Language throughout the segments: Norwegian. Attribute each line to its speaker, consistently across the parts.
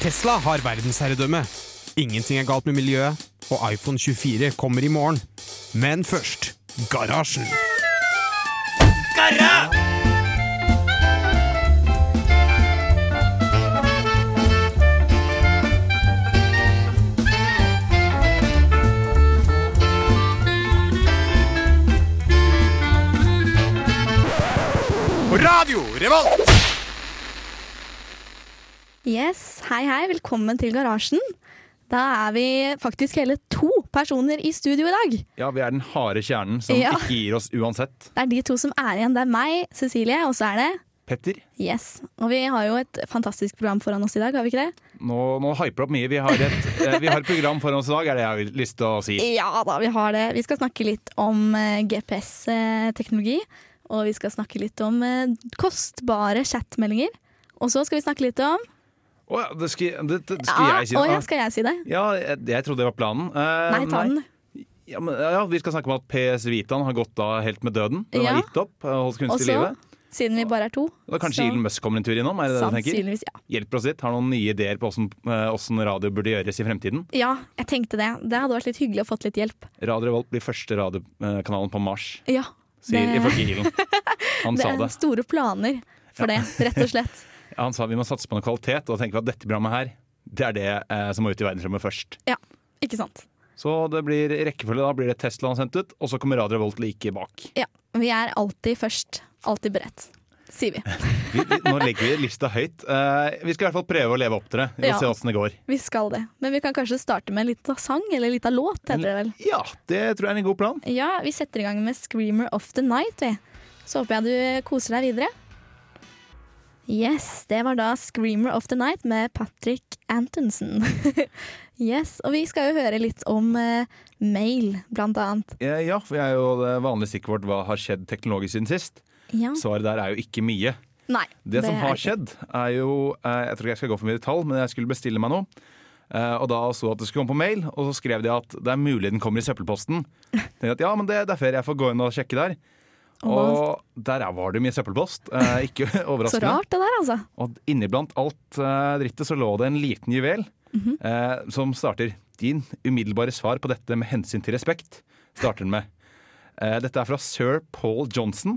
Speaker 1: Tesla har verdensherredømme. Ingenting er galt med miljøet, og iPhone 24 kommer i morgen. Men først garasjen. Radio Revolt!
Speaker 2: Yes, hei hei, velkommen til garasjen. Da er vi faktisk hele to personer i studio i dag.
Speaker 3: Ja, vi er den harde kjernen som
Speaker 2: Ja.
Speaker 3: ikke gir oss uansett.
Speaker 2: Det er de to som er igjen. Det er meg, Cecilie, og så er det
Speaker 3: Petter,
Speaker 2: Yes. Og vi har jo et fantastisk program foran oss i dag, har vi ikke det?
Speaker 3: nå, nå hyper du opp mye. Vi har, et, eh, vi har et program foran oss i dag, er det jeg har lyst til å si.
Speaker 2: Ja da, vi har det. Vi skal snakke litt om eh, GPS-teknologi. eh, Og vi skal snakke litt om eh, kostbare chatmeldinger. Og så skal vi snakke litt om
Speaker 3: Å ja, det skulle, det, det skulle jeg si.
Speaker 2: å, ja,
Speaker 3: Ja,
Speaker 2: skal jeg si det?
Speaker 3: jeg, jeg trodde det var planen. Eh,
Speaker 2: Nei, ta den.
Speaker 3: Ja, men, eh, ja, vi skal snakke om at PS Vitaen har gått av helt med døden. Den
Speaker 2: Ja.
Speaker 3: har gitt opp, eh,
Speaker 2: Og
Speaker 3: holdt kunstig i
Speaker 2: så,
Speaker 3: live.
Speaker 2: siden vi bare er to
Speaker 3: Da kanskje
Speaker 2: så-
Speaker 3: Elon Musk kommer en tur innom? er det det du tenker?
Speaker 2: Sannsynligvis, ja.
Speaker 3: Hjelper oss litt? Har noen nye ideer på hvordan, eh, hvordan radio burde gjøres i fremtiden?
Speaker 2: Ja, jeg tenkte det. Det hadde vært litt hyggelig å fått litt hjelp.
Speaker 3: Radio Revolt blir første radiokanalen på Mars,
Speaker 2: Ja,
Speaker 3: sier
Speaker 2: Det-
Speaker 3: ifølge Elon. Han
Speaker 2: det
Speaker 3: sa
Speaker 2: er
Speaker 3: det.
Speaker 2: store planer for det, rett og slett.
Speaker 3: Han sa vi må satse på noe kvalitet, og da tenker vi at dette programmet her, det er det eh, som må ut i verdensrommet først.
Speaker 2: Ja, ikke sant.
Speaker 3: Så det blir i rekkefølge, da blir det Tesla han sendt ut, og så kommer Radio Revolt like bak.
Speaker 2: Ja, vi er alltid først, alltid beredt, sier vi.
Speaker 3: Vi, vi, nå legger vi lista høyt. Eh, vi skal i hvert fall prøve å leve opp til det. Vi får
Speaker 2: Ja.
Speaker 3: se åssen det går.
Speaker 2: Vi skal det. Men vi kan kanskje starte med en liten sang, eller en liten låt, heter det vel.
Speaker 3: Ja, det tror jeg er en god plan.
Speaker 2: Ja, vi setter i gang med 'Screamer of the Night', vi. Så håper jeg du koser deg videre. Yes, det var da 'Screamer of the Night' med Patrick Antonsen. yes, og vi skal jo høre litt om eh, mail, blant annet.
Speaker 3: Eh, ja, for jeg er jo det vanlige stikkordet hva har skjedd teknologisk siden sist.
Speaker 2: Ja.
Speaker 3: Svaret der er jo ikke mye.
Speaker 2: Nei.
Speaker 3: Det, som
Speaker 2: er
Speaker 3: har
Speaker 2: ikke-
Speaker 3: skjedd, er jo eh, Jeg tror ikke jeg skal gå for mye i detalj, men jeg skulle bestille meg noe. Eh, Og da så jeg at det skulle komme på mail, og så skrev de at det er mulig den kommer i søppelposten. Tenkte jeg at ja, men det, det er ferie, jeg får gå inn og sjekke der.
Speaker 2: Åh.
Speaker 3: Og der er- var det mye søppelpost. eh, Ikke
Speaker 2: Så
Speaker 3: overraskende.
Speaker 2: rart det der, altså.
Speaker 3: Og inniblant alt eh, drittet så lå det en liten juvel
Speaker 2: Mhm.
Speaker 3: eh, som starter Din umiddelbare svar på dette med hensyn til respekt, starter den med. Eh, dette er fra sir Paul Johnson.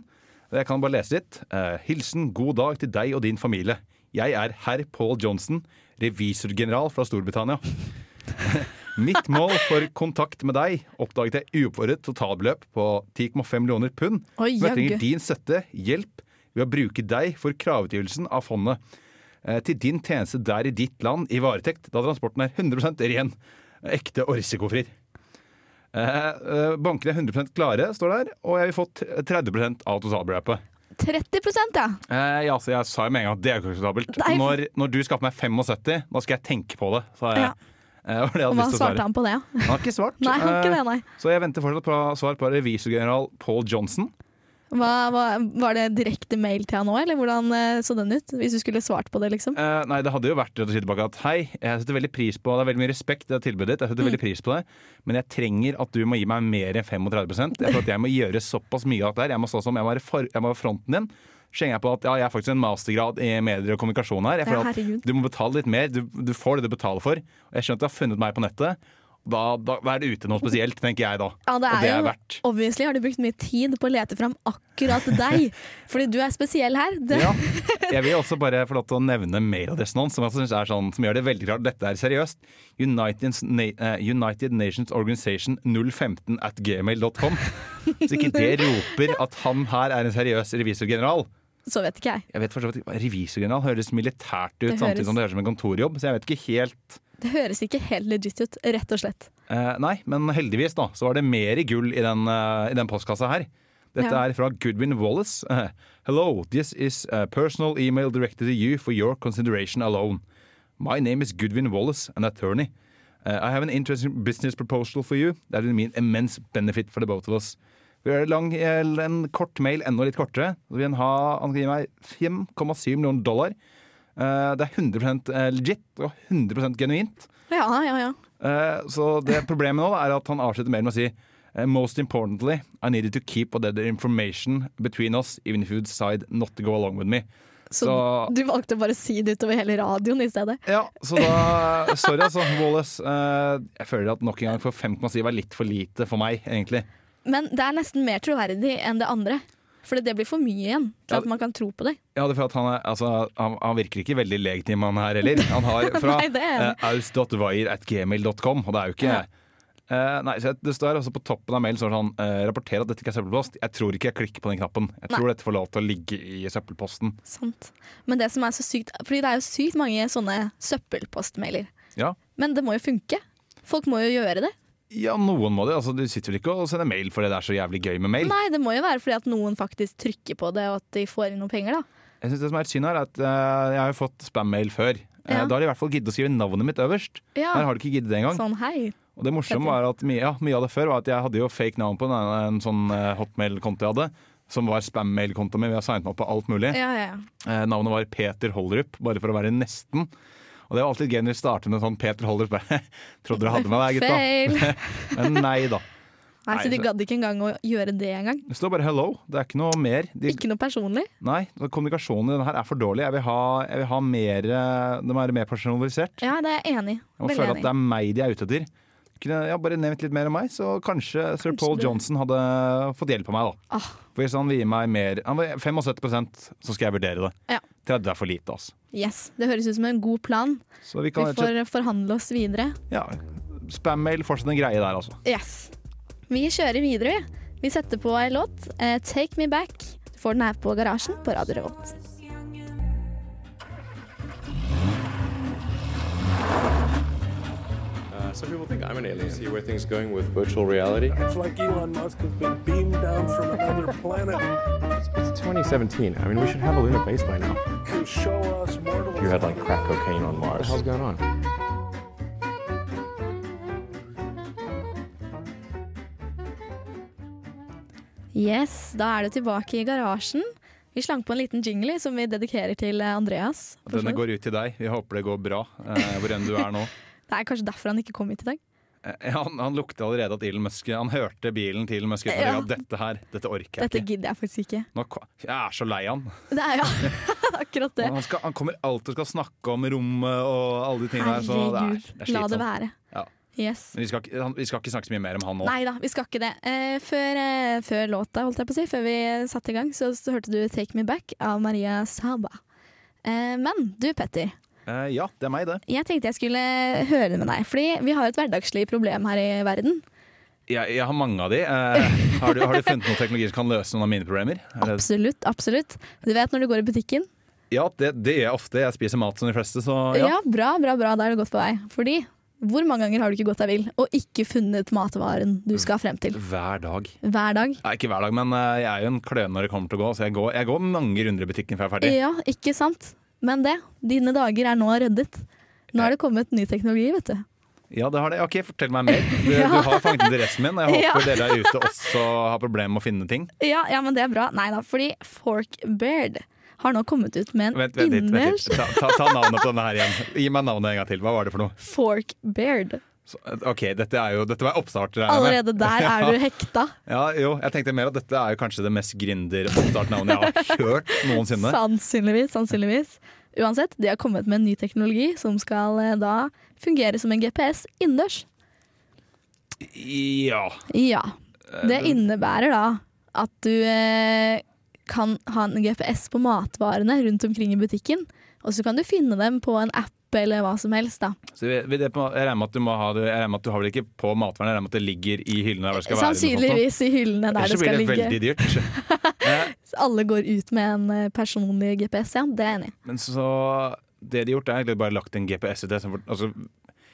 Speaker 3: Jeg kan bare lese litt. Eh, hilsen god dag til deg og din familie. Jeg er herr Paul Johnson, revisorgeneral fra Storbritannia. Mitt mål for kontakt med deg oppdaget jeg uoppfordret totalbeløp på 10,5 millioner pund.
Speaker 2: Oi,
Speaker 3: som jeg trenger
Speaker 2: jaggu.
Speaker 3: din støtte, hjelp, ved å bruke deg for kravutgivelsen av fondet. eh, Til din tjeneste der i ditt land i varetekt, da transporten er 100 ren, ekte og risikofri. Eh, eh, Bankene er 100 klare, står der, og jeg vil få t- 30 av totalbeløpet.
Speaker 2: 30 ja.
Speaker 3: Eh, ja, så jeg sa jo med en gang at det er jo ikke akseptabelt.
Speaker 2: Nei.
Speaker 3: Når, når du skaffer meg 75, da skal jeg tenke på det, sa jeg.
Speaker 2: Ja.
Speaker 3: Eh, var det
Speaker 2: Og
Speaker 3: jeg hadde
Speaker 2: hva
Speaker 3: lyst til å svare.
Speaker 2: svarte han på det? ja?
Speaker 3: Han har ikke svart.
Speaker 2: Nei, han har ikke det, nei.
Speaker 3: Eh, Så jeg venter fortsatt på svar på revisorgeneral Paul Johnson.
Speaker 2: Hva, hva, var det direkte mail til han nå, eller hvordan eh, så den ut? Hvis du skulle svart på det, liksom.
Speaker 3: Eh, nei, det hadde jo vært rett å si tilbake at hei, jeg setter veldig pris på det er veldig mye respekt i det tilbudet ditt, jeg
Speaker 2: Mm.
Speaker 3: setter veldig pris på det, men jeg trenger at du må gi meg mer enn 35 Jeg tror at jeg må gjøre såpass mye av det her. Jeg må stå som, jeg må være, for, jeg må være fronten din. Så kjenner jeg på at ja, jeg er faktisk en mastergrad i medier og kommunikasjon her. Jeg
Speaker 2: Ja,
Speaker 3: føler
Speaker 2: herregud.
Speaker 3: at du må betale litt mer. Du, du får det du betaler for. Og jeg skjønner at du har funnet meg på nettet. Da, da, da er det ute noe spesielt, tenker jeg da.
Speaker 2: Ja, det
Speaker 3: og
Speaker 2: er
Speaker 3: det er
Speaker 2: jo,
Speaker 3: verdt.
Speaker 2: Obviously har du brukt mye tid på å lete fram akkurat deg, fordi du er spesiell her. Det,
Speaker 3: Ja. Jeg vil også bare få lov til å nevne mailadressen hans, som, jeg synes er sånn, som gjør det veldig klart at dette er seriøst. United, Na eh, United Nations Organization 015 at gmail.com. Så ikke det roper at han her er en seriøs revisorgeneral.
Speaker 2: Så vet ikke jeg.
Speaker 3: Jeg vet forstått, Revisorgeneral høres militært
Speaker 2: Det
Speaker 3: ut,
Speaker 2: høres-
Speaker 3: samtidig som det høres som en kontorjobb, så jeg vet ikke helt
Speaker 2: Det høres ikke helt legit ut, rett og slett.
Speaker 3: eh, Nei, men heldigvis da, så var det mer gull i den, eh, i den postkassa her. Dette
Speaker 2: Ja.
Speaker 3: er fra Goodwin Wallace. Eh, Hello, this is a personal email directed to you for your consideration alone. My name is Goodwin Wallace, an attorney. Uh, I have an interesting business proposal for you that will mean immense benefit for the both of us. Vi gjør en lang, eh, en kort mail, enda litt kortere. Så vil han ha, han kan gi meg 5,7 millioner dollar. Eh, det er 100 legit og 100 genuint.
Speaker 2: Ja, ja, ja.
Speaker 3: Eh, Så det problemet nå da, er at han avslutter mailen med å si eh, Most importantly, I needed to keep all that information between us even if you decide not to go along with me.
Speaker 2: Så,
Speaker 3: Så-
Speaker 2: du valgte å bare si det utover hele radioen i stedet.
Speaker 3: Ja, så da Sorry, altså, Wallace. Eh, jeg føler at nok en gang for 5,7 var litt for lite for meg, egentlig.
Speaker 2: Men det er nesten mer troverdig enn det andre. For det blir for mye igjen til
Speaker 3: Ja,
Speaker 2: at man kan tro på det.
Speaker 3: Ja, det er for at han, er, altså, han, han virker ikke veldig legitim, han her heller. Han har fra
Speaker 2: Nei, det er han.
Speaker 3: eh, aus.waier.gmail.com, og det er jo ikke Eh, nei, så Det står altså på toppen av mailen står det sånn eh, Rapporter at dette ikke er søppelpost. Jeg tror ikke jeg klikker på den knappen. Jeg
Speaker 2: Nei.
Speaker 3: tror dette får lov til å ligge i søppelposten.
Speaker 2: Sant. Men det som er så sykt Fordi det er jo sykt mange sånne søppelpostmailer.
Speaker 3: Ja,
Speaker 2: Men det må jo funke. Folk må jo gjøre det.
Speaker 3: ja noen må det. Altså, du sitter vel ikke og sender mail fordi det er så jævlig gøy med mail.
Speaker 2: Nei, det må jo være fordi at noen faktisk trykker på det, og at de får inn noen penger, da.
Speaker 3: Jeg synes det som er et synd her er at eh, Jeg har jo fått spam-mail før. Eh,
Speaker 2: Ja.
Speaker 3: Da har de i hvert fall giddet å skrive navnet mitt øverst.
Speaker 2: Ja.
Speaker 3: Her har de ikke giddet det engang.
Speaker 2: Sånn hei.
Speaker 3: Og det morsomme var at mye, ja, mye av det før var at jeg hadde jo fake navn på en, en sånn eh, hotmail-konto jeg hadde. Som var spam-mail-kontoen min. Vi har signet meg opp på alt mulig.
Speaker 2: Ja, ja, ja.
Speaker 3: Eh, navnet var Peter Holderup, bare for å være nesten. Og det var alltid gøy når vi startet med sånn Peter Holderup. bare, Trodde dere hadde meg der, gutta.
Speaker 2: Fail.
Speaker 3: Men nei da.
Speaker 2: Nei,
Speaker 3: Nei,
Speaker 2: så de
Speaker 3: så-
Speaker 2: gadd ikke engang å gjøre det engang.
Speaker 3: Det står bare 'hello'. Det er ikke noe mer. De,
Speaker 2: Ikke noe personlig.
Speaker 3: nei, Kommunikasjonen i denne her er for dårlig. Jeg vil ha, jeg vil ha mer eh, Det må være mer personalisert.
Speaker 2: Ja, det er jeg enig i.
Speaker 3: Jeg må
Speaker 2: Veldig
Speaker 3: føle at
Speaker 2: enig.
Speaker 3: det er meg de er ute etter. Kunne jeg bare nevnt litt mer om meg, så kanskje sir
Speaker 2: Kanskje
Speaker 3: Paul
Speaker 2: det-
Speaker 3: Johnson hadde fått hjelp av meg, da.
Speaker 2: Ah,
Speaker 3: For Hvis han vil gi meg mer han vil- 75 så skal jeg vurdere det.
Speaker 2: Ja.
Speaker 3: 30 er for lite, altså.
Speaker 2: yes. Det høres ut som en god plan.
Speaker 3: Så vi kan
Speaker 2: Vi får forhandle oss videre.
Speaker 3: ja, Spam-mail, fortsatt en greie der, altså.
Speaker 2: Yes. Vi kjører videre, vi. Vi setter på ei låt, eh, 'Take Me Back'. Du får den her på Garasjen på Radio Revolt.
Speaker 4: Uh, some people think I'm an alien. See where things going with virtual reality.
Speaker 5: It's like Elon Musk has been beamed down from another planet
Speaker 4: It's 2017. I mean, we should have a lunar base by now.
Speaker 5: to show us mortals.
Speaker 4: You had like crack cocaine on Mars. What the hell's going on?
Speaker 2: Yes, da er du tilbake i garasjen. Vi slang på en liten jingle som vi dedikerer til eh, Andreas. for så
Speaker 3: Denne
Speaker 2: vidt.
Speaker 3: går ut til deg. Vi håper det går bra, eh, hvor enn du er nå.
Speaker 2: Det er kanskje derfor han ikke kom hit i dag.
Speaker 3: Eh, Han, han lukta allerede at Elon Musk Han hørte bilen til Elon Musk. og
Speaker 2: Ja.
Speaker 3: tenkte, Dette her, dette orker jeg
Speaker 2: Dette
Speaker 3: ikke.
Speaker 2: gidder jeg faktisk ikke.
Speaker 3: Nå, ko- jeg er så lei han.
Speaker 2: Det er jo akkurat det.
Speaker 3: Han, skal, han kommer alltid og skal snakke om rommet og alle de tingene der. Så det er,
Speaker 2: Herregud,
Speaker 3: det er
Speaker 2: la det
Speaker 3: slitsomt.
Speaker 2: være.
Speaker 3: Ja.
Speaker 2: Yes.
Speaker 3: Men vi skal, ikke- han- vi skal ikke snakke så mye mer om han nå.
Speaker 2: Nei da, vi skal ikke det. Eh, før, eh, før låta, holdt jeg på å si, før vi satte i gang, så, så hørte du 'Take Me Back' av Maria Saba. Eh, men du, Petter.
Speaker 3: Eh, ja, det er meg, det.
Speaker 2: Jeg tenkte jeg skulle høre det med deg, fordi vi har et hverdagslig problem her i verden.
Speaker 3: Jeg, jeg har mange av de. Eh, har, du, har du funnet noen teknologi som kan løse noen av mine problemer? Er det-
Speaker 2: Absolutt, absolutt. Du vet når du går i butikken?
Speaker 3: Ja, det, det gjør jeg ofte. Jeg spiser mat som de fleste, så
Speaker 2: Ja,
Speaker 3: Ah, ja.
Speaker 2: bra, bra, bra, da er du godt på vei. Fordi hvor mange ganger har du ikke gått deg vill og ikke funnet matvaren du skal frem til?
Speaker 3: Hver dag.
Speaker 2: Hver dag.
Speaker 3: Nei, ikke hver dag, men eh, jeg er jo en kløne når det kommer til å gå. Så jeg går, jeg går mange runder i butikken før jeg er ferdig.
Speaker 2: Ja, ikke sant? Men det, dine dager er nå reddet. Nå er det kommet ny teknologi, vet du.
Speaker 3: Ja, det har det. Ok, fortell meg mer. Du, du har fanget interessen min. og Jeg håper dere der ute også har problemer med å finne ting.
Speaker 2: Ja, ja, men det er bra. Nei da, fordi Forkbeard har nå kommet ut med en
Speaker 3: Vent, vent litt. Vent
Speaker 2: inners
Speaker 3: litt. Ta, ta, ta navnet på denne her igjen. Gi meg navnet en gang til. Hva var det for noe?
Speaker 2: Forkbeard.
Speaker 3: Så, eh, ok, dette, er jo, dette var oppstart. regner jeg med.
Speaker 2: Allerede der er du hekta.
Speaker 3: Ja, jo, jeg tenkte mer at dette er jo kanskje det mest gründer-oppstartnavnet jeg har hørt noensinne.
Speaker 2: Sannsynligvis, sannsynligvis. Uansett, de har kommet med en ny teknologi som skal eh, da fungere som en GPS innendørs.
Speaker 3: Ja.
Speaker 2: Ja. Det innebærer da at du eh, kan ha en GPS på matvarene rundt omkring i butikken, og så kan du finne dem på en app eller hva som helst, da.
Speaker 3: Så vi- vi- det på- jeg regner med at du må ha det, jeg regner med at du har vel ikke på matvernet, jeg regner med at det ligger i hyllene der hvor det skal være.
Speaker 2: Sannsynligvis i hyllene der
Speaker 3: Ellers
Speaker 2: det
Speaker 3: så blir
Speaker 2: skal
Speaker 3: det
Speaker 2: ligge.
Speaker 3: veldig dyrt. Eh,
Speaker 2: Alle går ut med en eh, personlig GPS, ja. Det er jeg enig i.
Speaker 3: Men så Det de har gjort, er egentlig bare lagt en GPS i det. Som, altså,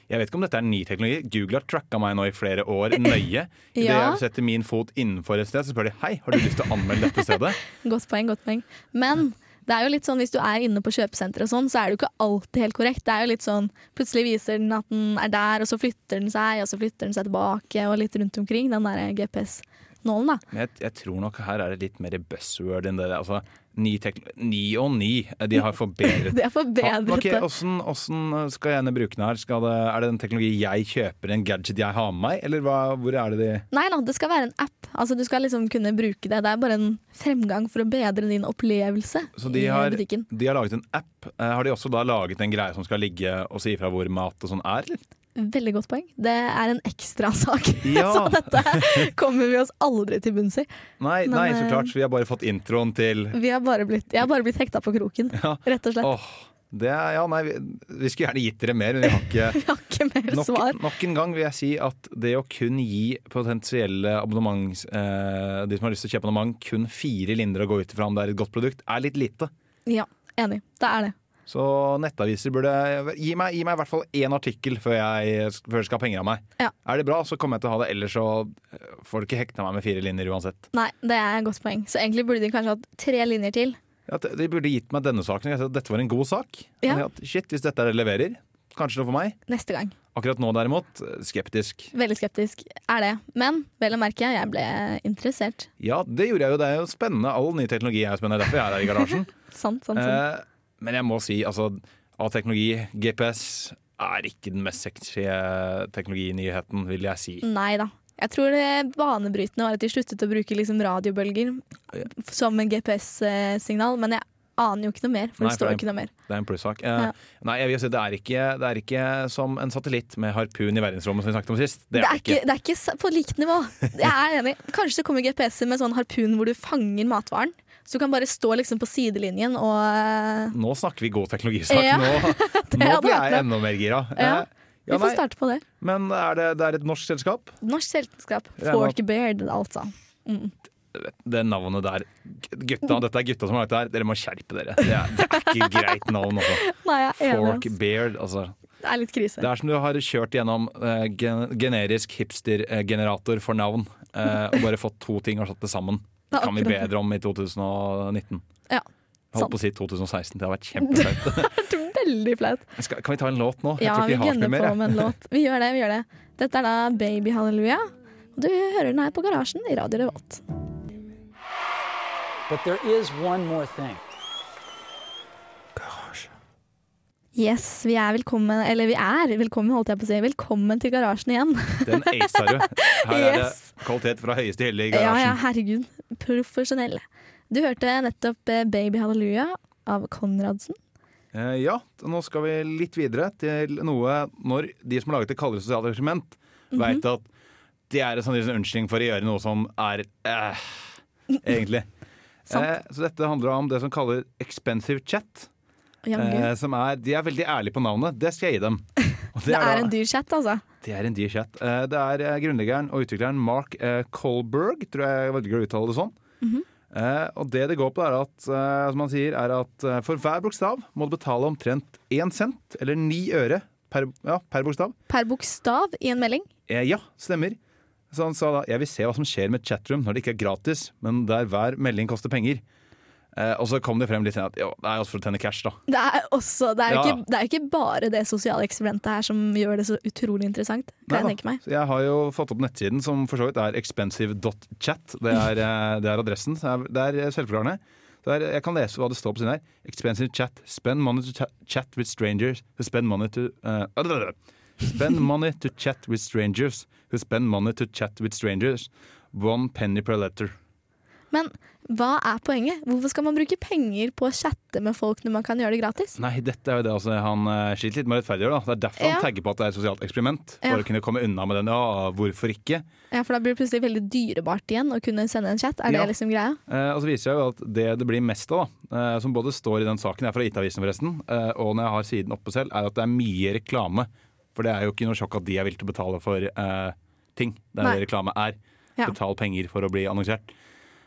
Speaker 3: jeg vet ikke om dette er ny teknologi. Google har tracka meg nå i flere år nøye. Idet
Speaker 2: Ja.
Speaker 3: jeg setter min fot innenfor et sted, så spør de hei, har du lyst til å anmelde dette stedet.
Speaker 2: Godt poeng, godt poeng. Men det er jo litt sånn, hvis du er inne på kjøpesenter og sånn, så er det jo ikke alltid helt korrekt. Det er jo litt sånn, plutselig viser den at den er der, og så flytter den seg, og så flytter den seg tilbake, og litt rundt omkring, den der nålen, da.
Speaker 3: Men jeg, jeg tror nok her er det litt mer buzzword enn det der. Altså, ny, tekn- ny og ny. De har forbedret
Speaker 2: Det er forbedret.
Speaker 3: Ok,
Speaker 2: det.
Speaker 3: Åssen åssen skal jeg gjerne bruke den her? Skal det, er det en teknologi jeg kjøper, en gadget jeg har med meg? Eller hva, hvor er det de
Speaker 2: Nei da, det skal være en app. Altså, du skal liksom kunne bruke det. Det er bare en fremgang for å bedre din opplevelse
Speaker 3: Så de
Speaker 2: i
Speaker 3: har,
Speaker 2: butikken.
Speaker 3: de har laget en app. Eh, Har de også da laget en greie som skal ligge og si ifra hvor mat og sånn er? eller?
Speaker 2: Veldig godt poeng. Det er en ekstrasak.
Speaker 3: Ja.
Speaker 2: Så dette kommer vi oss aldri til bunns i.
Speaker 3: Nei,
Speaker 2: Men,
Speaker 3: nei, så
Speaker 2: eh,
Speaker 3: klart. Vi har bare fått introen til
Speaker 2: Vi har bare blitt, jeg har bare blitt hekta på kroken,
Speaker 3: Ja.
Speaker 2: rett og slett.
Speaker 3: Åh, det er, ja, nei, vi, vi skulle gjerne gitt dere mer, men vi har ikke
Speaker 2: Jeg har ikke mer
Speaker 3: Nok,
Speaker 2: svar.
Speaker 3: nok en gang vil jeg si at det å kun gi potensielle abonnements... Eh, de som har lyst til å kjøpe abonnement, kun fire lindre å gå ut ifra om det er et godt produkt, er litt lite.
Speaker 2: Ja, enig. Det er det.
Speaker 3: Så nettaviser burde Gi meg, gi meg i hvert fall én artikkel før jeg, før jeg skal ha penger av meg.
Speaker 2: Ja.
Speaker 3: Er det bra, så kommer jeg til å ha det. Ellers så eh, får du ikke hekta meg med fire linjer uansett.
Speaker 2: Nei, det er et godt poeng. Så egentlig burde de kanskje hatt tre linjer til.
Speaker 3: Ja, de- de burde gitt meg denne saken. Jeg sa at dette var en god sak.
Speaker 2: Ja.
Speaker 3: Men at, Shit, hvis dette er det leverer, kanskje noe for meg.
Speaker 2: Neste gang.
Speaker 3: Akkurat nå derimot, eh, skeptisk.
Speaker 2: Veldig skeptisk er det. Men vel å merke, jeg ble interessert.
Speaker 3: Ja, det gjorde jeg jo. Det er jo spennende. All ny teknologi er jo spennende. Derfor jeg er her i garasjen.
Speaker 2: Sant, sant, sant.
Speaker 3: eh, men jeg må si, altså, av teknologi, GPS er ikke den mest sexy eh, teknologinyheten, vil jeg si.
Speaker 2: Nei da. Jeg tror det banebrytende var at de sluttet å bruke liksom radiobølger som en GPS-signal, men jeg aner jo ikke noe mer, for
Speaker 3: Nei,
Speaker 2: det
Speaker 3: for
Speaker 2: står
Speaker 3: det-
Speaker 2: ikke noe mer.
Speaker 3: Det er en plussak. Eh,
Speaker 2: Ja.
Speaker 3: Nei, jeg vil si, det er, ikke, det er ikke som en satellitt med harpun i verdensrommet som vi snakket om sist.
Speaker 2: Det er, ikke, det er ikke s- på likt nivå. Jeg er enig. Kanskje det kommer GPS-er med sånn harpun hvor du fanger matvaren. Så du kan bare stå liksom på sidelinjen og eh,
Speaker 3: Nå snakker vi god teknologisak.
Speaker 2: Ja,
Speaker 3: nå nå
Speaker 2: hadde
Speaker 3: blir
Speaker 2: vært
Speaker 3: jeg enda mer gira.
Speaker 2: Ja.
Speaker 3: Eh,
Speaker 2: Vi
Speaker 3: ja,
Speaker 2: får
Speaker 3: nei,
Speaker 2: starte på det.
Speaker 3: men er det, det er et norsk selskap.
Speaker 2: Norsk selskap.
Speaker 3: Regner med at-
Speaker 2: Forkbeard, altså.
Speaker 3: Det navnet der
Speaker 2: Mm.
Speaker 3: gutta, Dette er gutta som har lagt det her. Dere må skjerpe dere. Det er, det er ikke greit navn. Også.
Speaker 2: Nei, jeg er enig.
Speaker 3: Fork
Speaker 2: ass.
Speaker 3: beard. Altså.
Speaker 2: Det er litt krise.
Speaker 3: Det er som du har kjørt gjennom eh, gen generisk hipster-generator for navn. eh, og bare fått to ting og satt det sammen.
Speaker 2: Det er
Speaker 3: kan vi
Speaker 2: akkurat det.
Speaker 3: bedre om i 2019.
Speaker 2: Ja,
Speaker 3: Jeg Holdt på å si 2016. Det har vært kjempeflaut.
Speaker 2: Det er veldig flaut.
Speaker 3: Skal- kan vi ta en låt nå? Jeg
Speaker 2: Ja,
Speaker 3: tror
Speaker 2: vi
Speaker 3: ikke vi har så
Speaker 2: gønner
Speaker 3: mye mer.
Speaker 2: på
Speaker 3: jeg.
Speaker 2: med en låt. Vi gjør det. vi gjør det. Dette er da Baby Halleluja. Og du hører den her på Garasjen i Radio Revolt.
Speaker 6: But there is one more thing.
Speaker 2: Yes, vi er velkommen, eller vi er velkommen, holdt jeg på å si. Velkommen til Garasjen igjen.
Speaker 3: Den acer du. Her er det
Speaker 2: Yes.
Speaker 3: kvalitet fra høyeste hylle i
Speaker 2: Ja, ja,
Speaker 3: garasjen.
Speaker 2: herregud. Profesjonell. Du hørte nettopp eh, Baby Halleluja av Konradsen.
Speaker 3: Eh, ja, nå skal vi litt videre til noe når de som har laget det kaller det sosialt eksperiment,
Speaker 2: Mhm.
Speaker 3: vet at det er en sannsynligvis en unnskyldning for å gjøre noe som er eh, egentlig.
Speaker 2: Sant.
Speaker 3: Eh, så dette handler om det som kaller expensive chat.
Speaker 2: Jammen.
Speaker 3: Eh, som er, de er veldig ærlige på navnet. Det skal jeg gi dem. Og
Speaker 2: Det
Speaker 3: da-
Speaker 2: er en dyr chat, altså.
Speaker 3: det er en dyr chat. Eh, Det er eh, grunnleggeren og utvikleren Mark eh, Kolberg, tror jeg velger å uttale det sånn. Eh, Og det det går på, er at, eh, som han sier, er at eh, for hver bokstav må du betale omtrent én cent, eller ni øre, per, ja, per bokstav.
Speaker 2: Per bokstav i en melding.
Speaker 3: Eh, Ja, stemmer. Så han sa da jeg vil se hva som skjer med chatroom når det ikke er gratis, men der hver melding koster penger. Eh, Og så kom det frem litt senere at jo, det er også for å tjene cash, da.
Speaker 2: Det er også, det er,
Speaker 3: Ja.
Speaker 2: ikke, det er ikke bare det sosiale eksperimentet her som gjør det så utrolig interessant. Kan
Speaker 3: Nei
Speaker 2: jeg
Speaker 3: da.
Speaker 2: tenke meg.
Speaker 3: Så jeg har jo fått opp nettsiden, som for så vidt er expensive.chat. Det, er, eh, det er adressen. så Det er, det er selvforklarende. Så det er- jeg kan lese hva det står på siden her. Expensive chat. Spend money to cha- chat with strangers who spend money to eh, Spend money to chat with strangers who spend money to chat with strangers. One penny per letter.
Speaker 2: Men hva er poenget? Hvorfor skal man bruke penger på å chatte med folk når man kan gjøre det gratis?
Speaker 3: Nei, dette er jo det altså, han eh, sliter litt med å rettferdiggjøre. da. Det er derfor
Speaker 2: Ja.
Speaker 3: han tagger på at det er et sosialt eksperiment.
Speaker 2: Ja.
Speaker 3: For å kunne komme unna med den. Ja, hvorfor ikke?
Speaker 2: Ja, For da blir det plutselig veldig dyrebart igjen å kunne sende en chat. Er
Speaker 3: Ja.
Speaker 2: det liksom greia?
Speaker 3: Eh, og så viser det jo at det det blir mest av, da, eh, som både står i den saken jeg er fra IT-avisen forresten, eh, og når jeg har siden oppe selv, er at det er mye reklame. For det er jo ikke noe sjokk at de er villige til å betale for eh, ting. Det er
Speaker 2: Nei.
Speaker 3: det reklame er.
Speaker 2: Ja.
Speaker 3: Betal penger for å bli annonsert.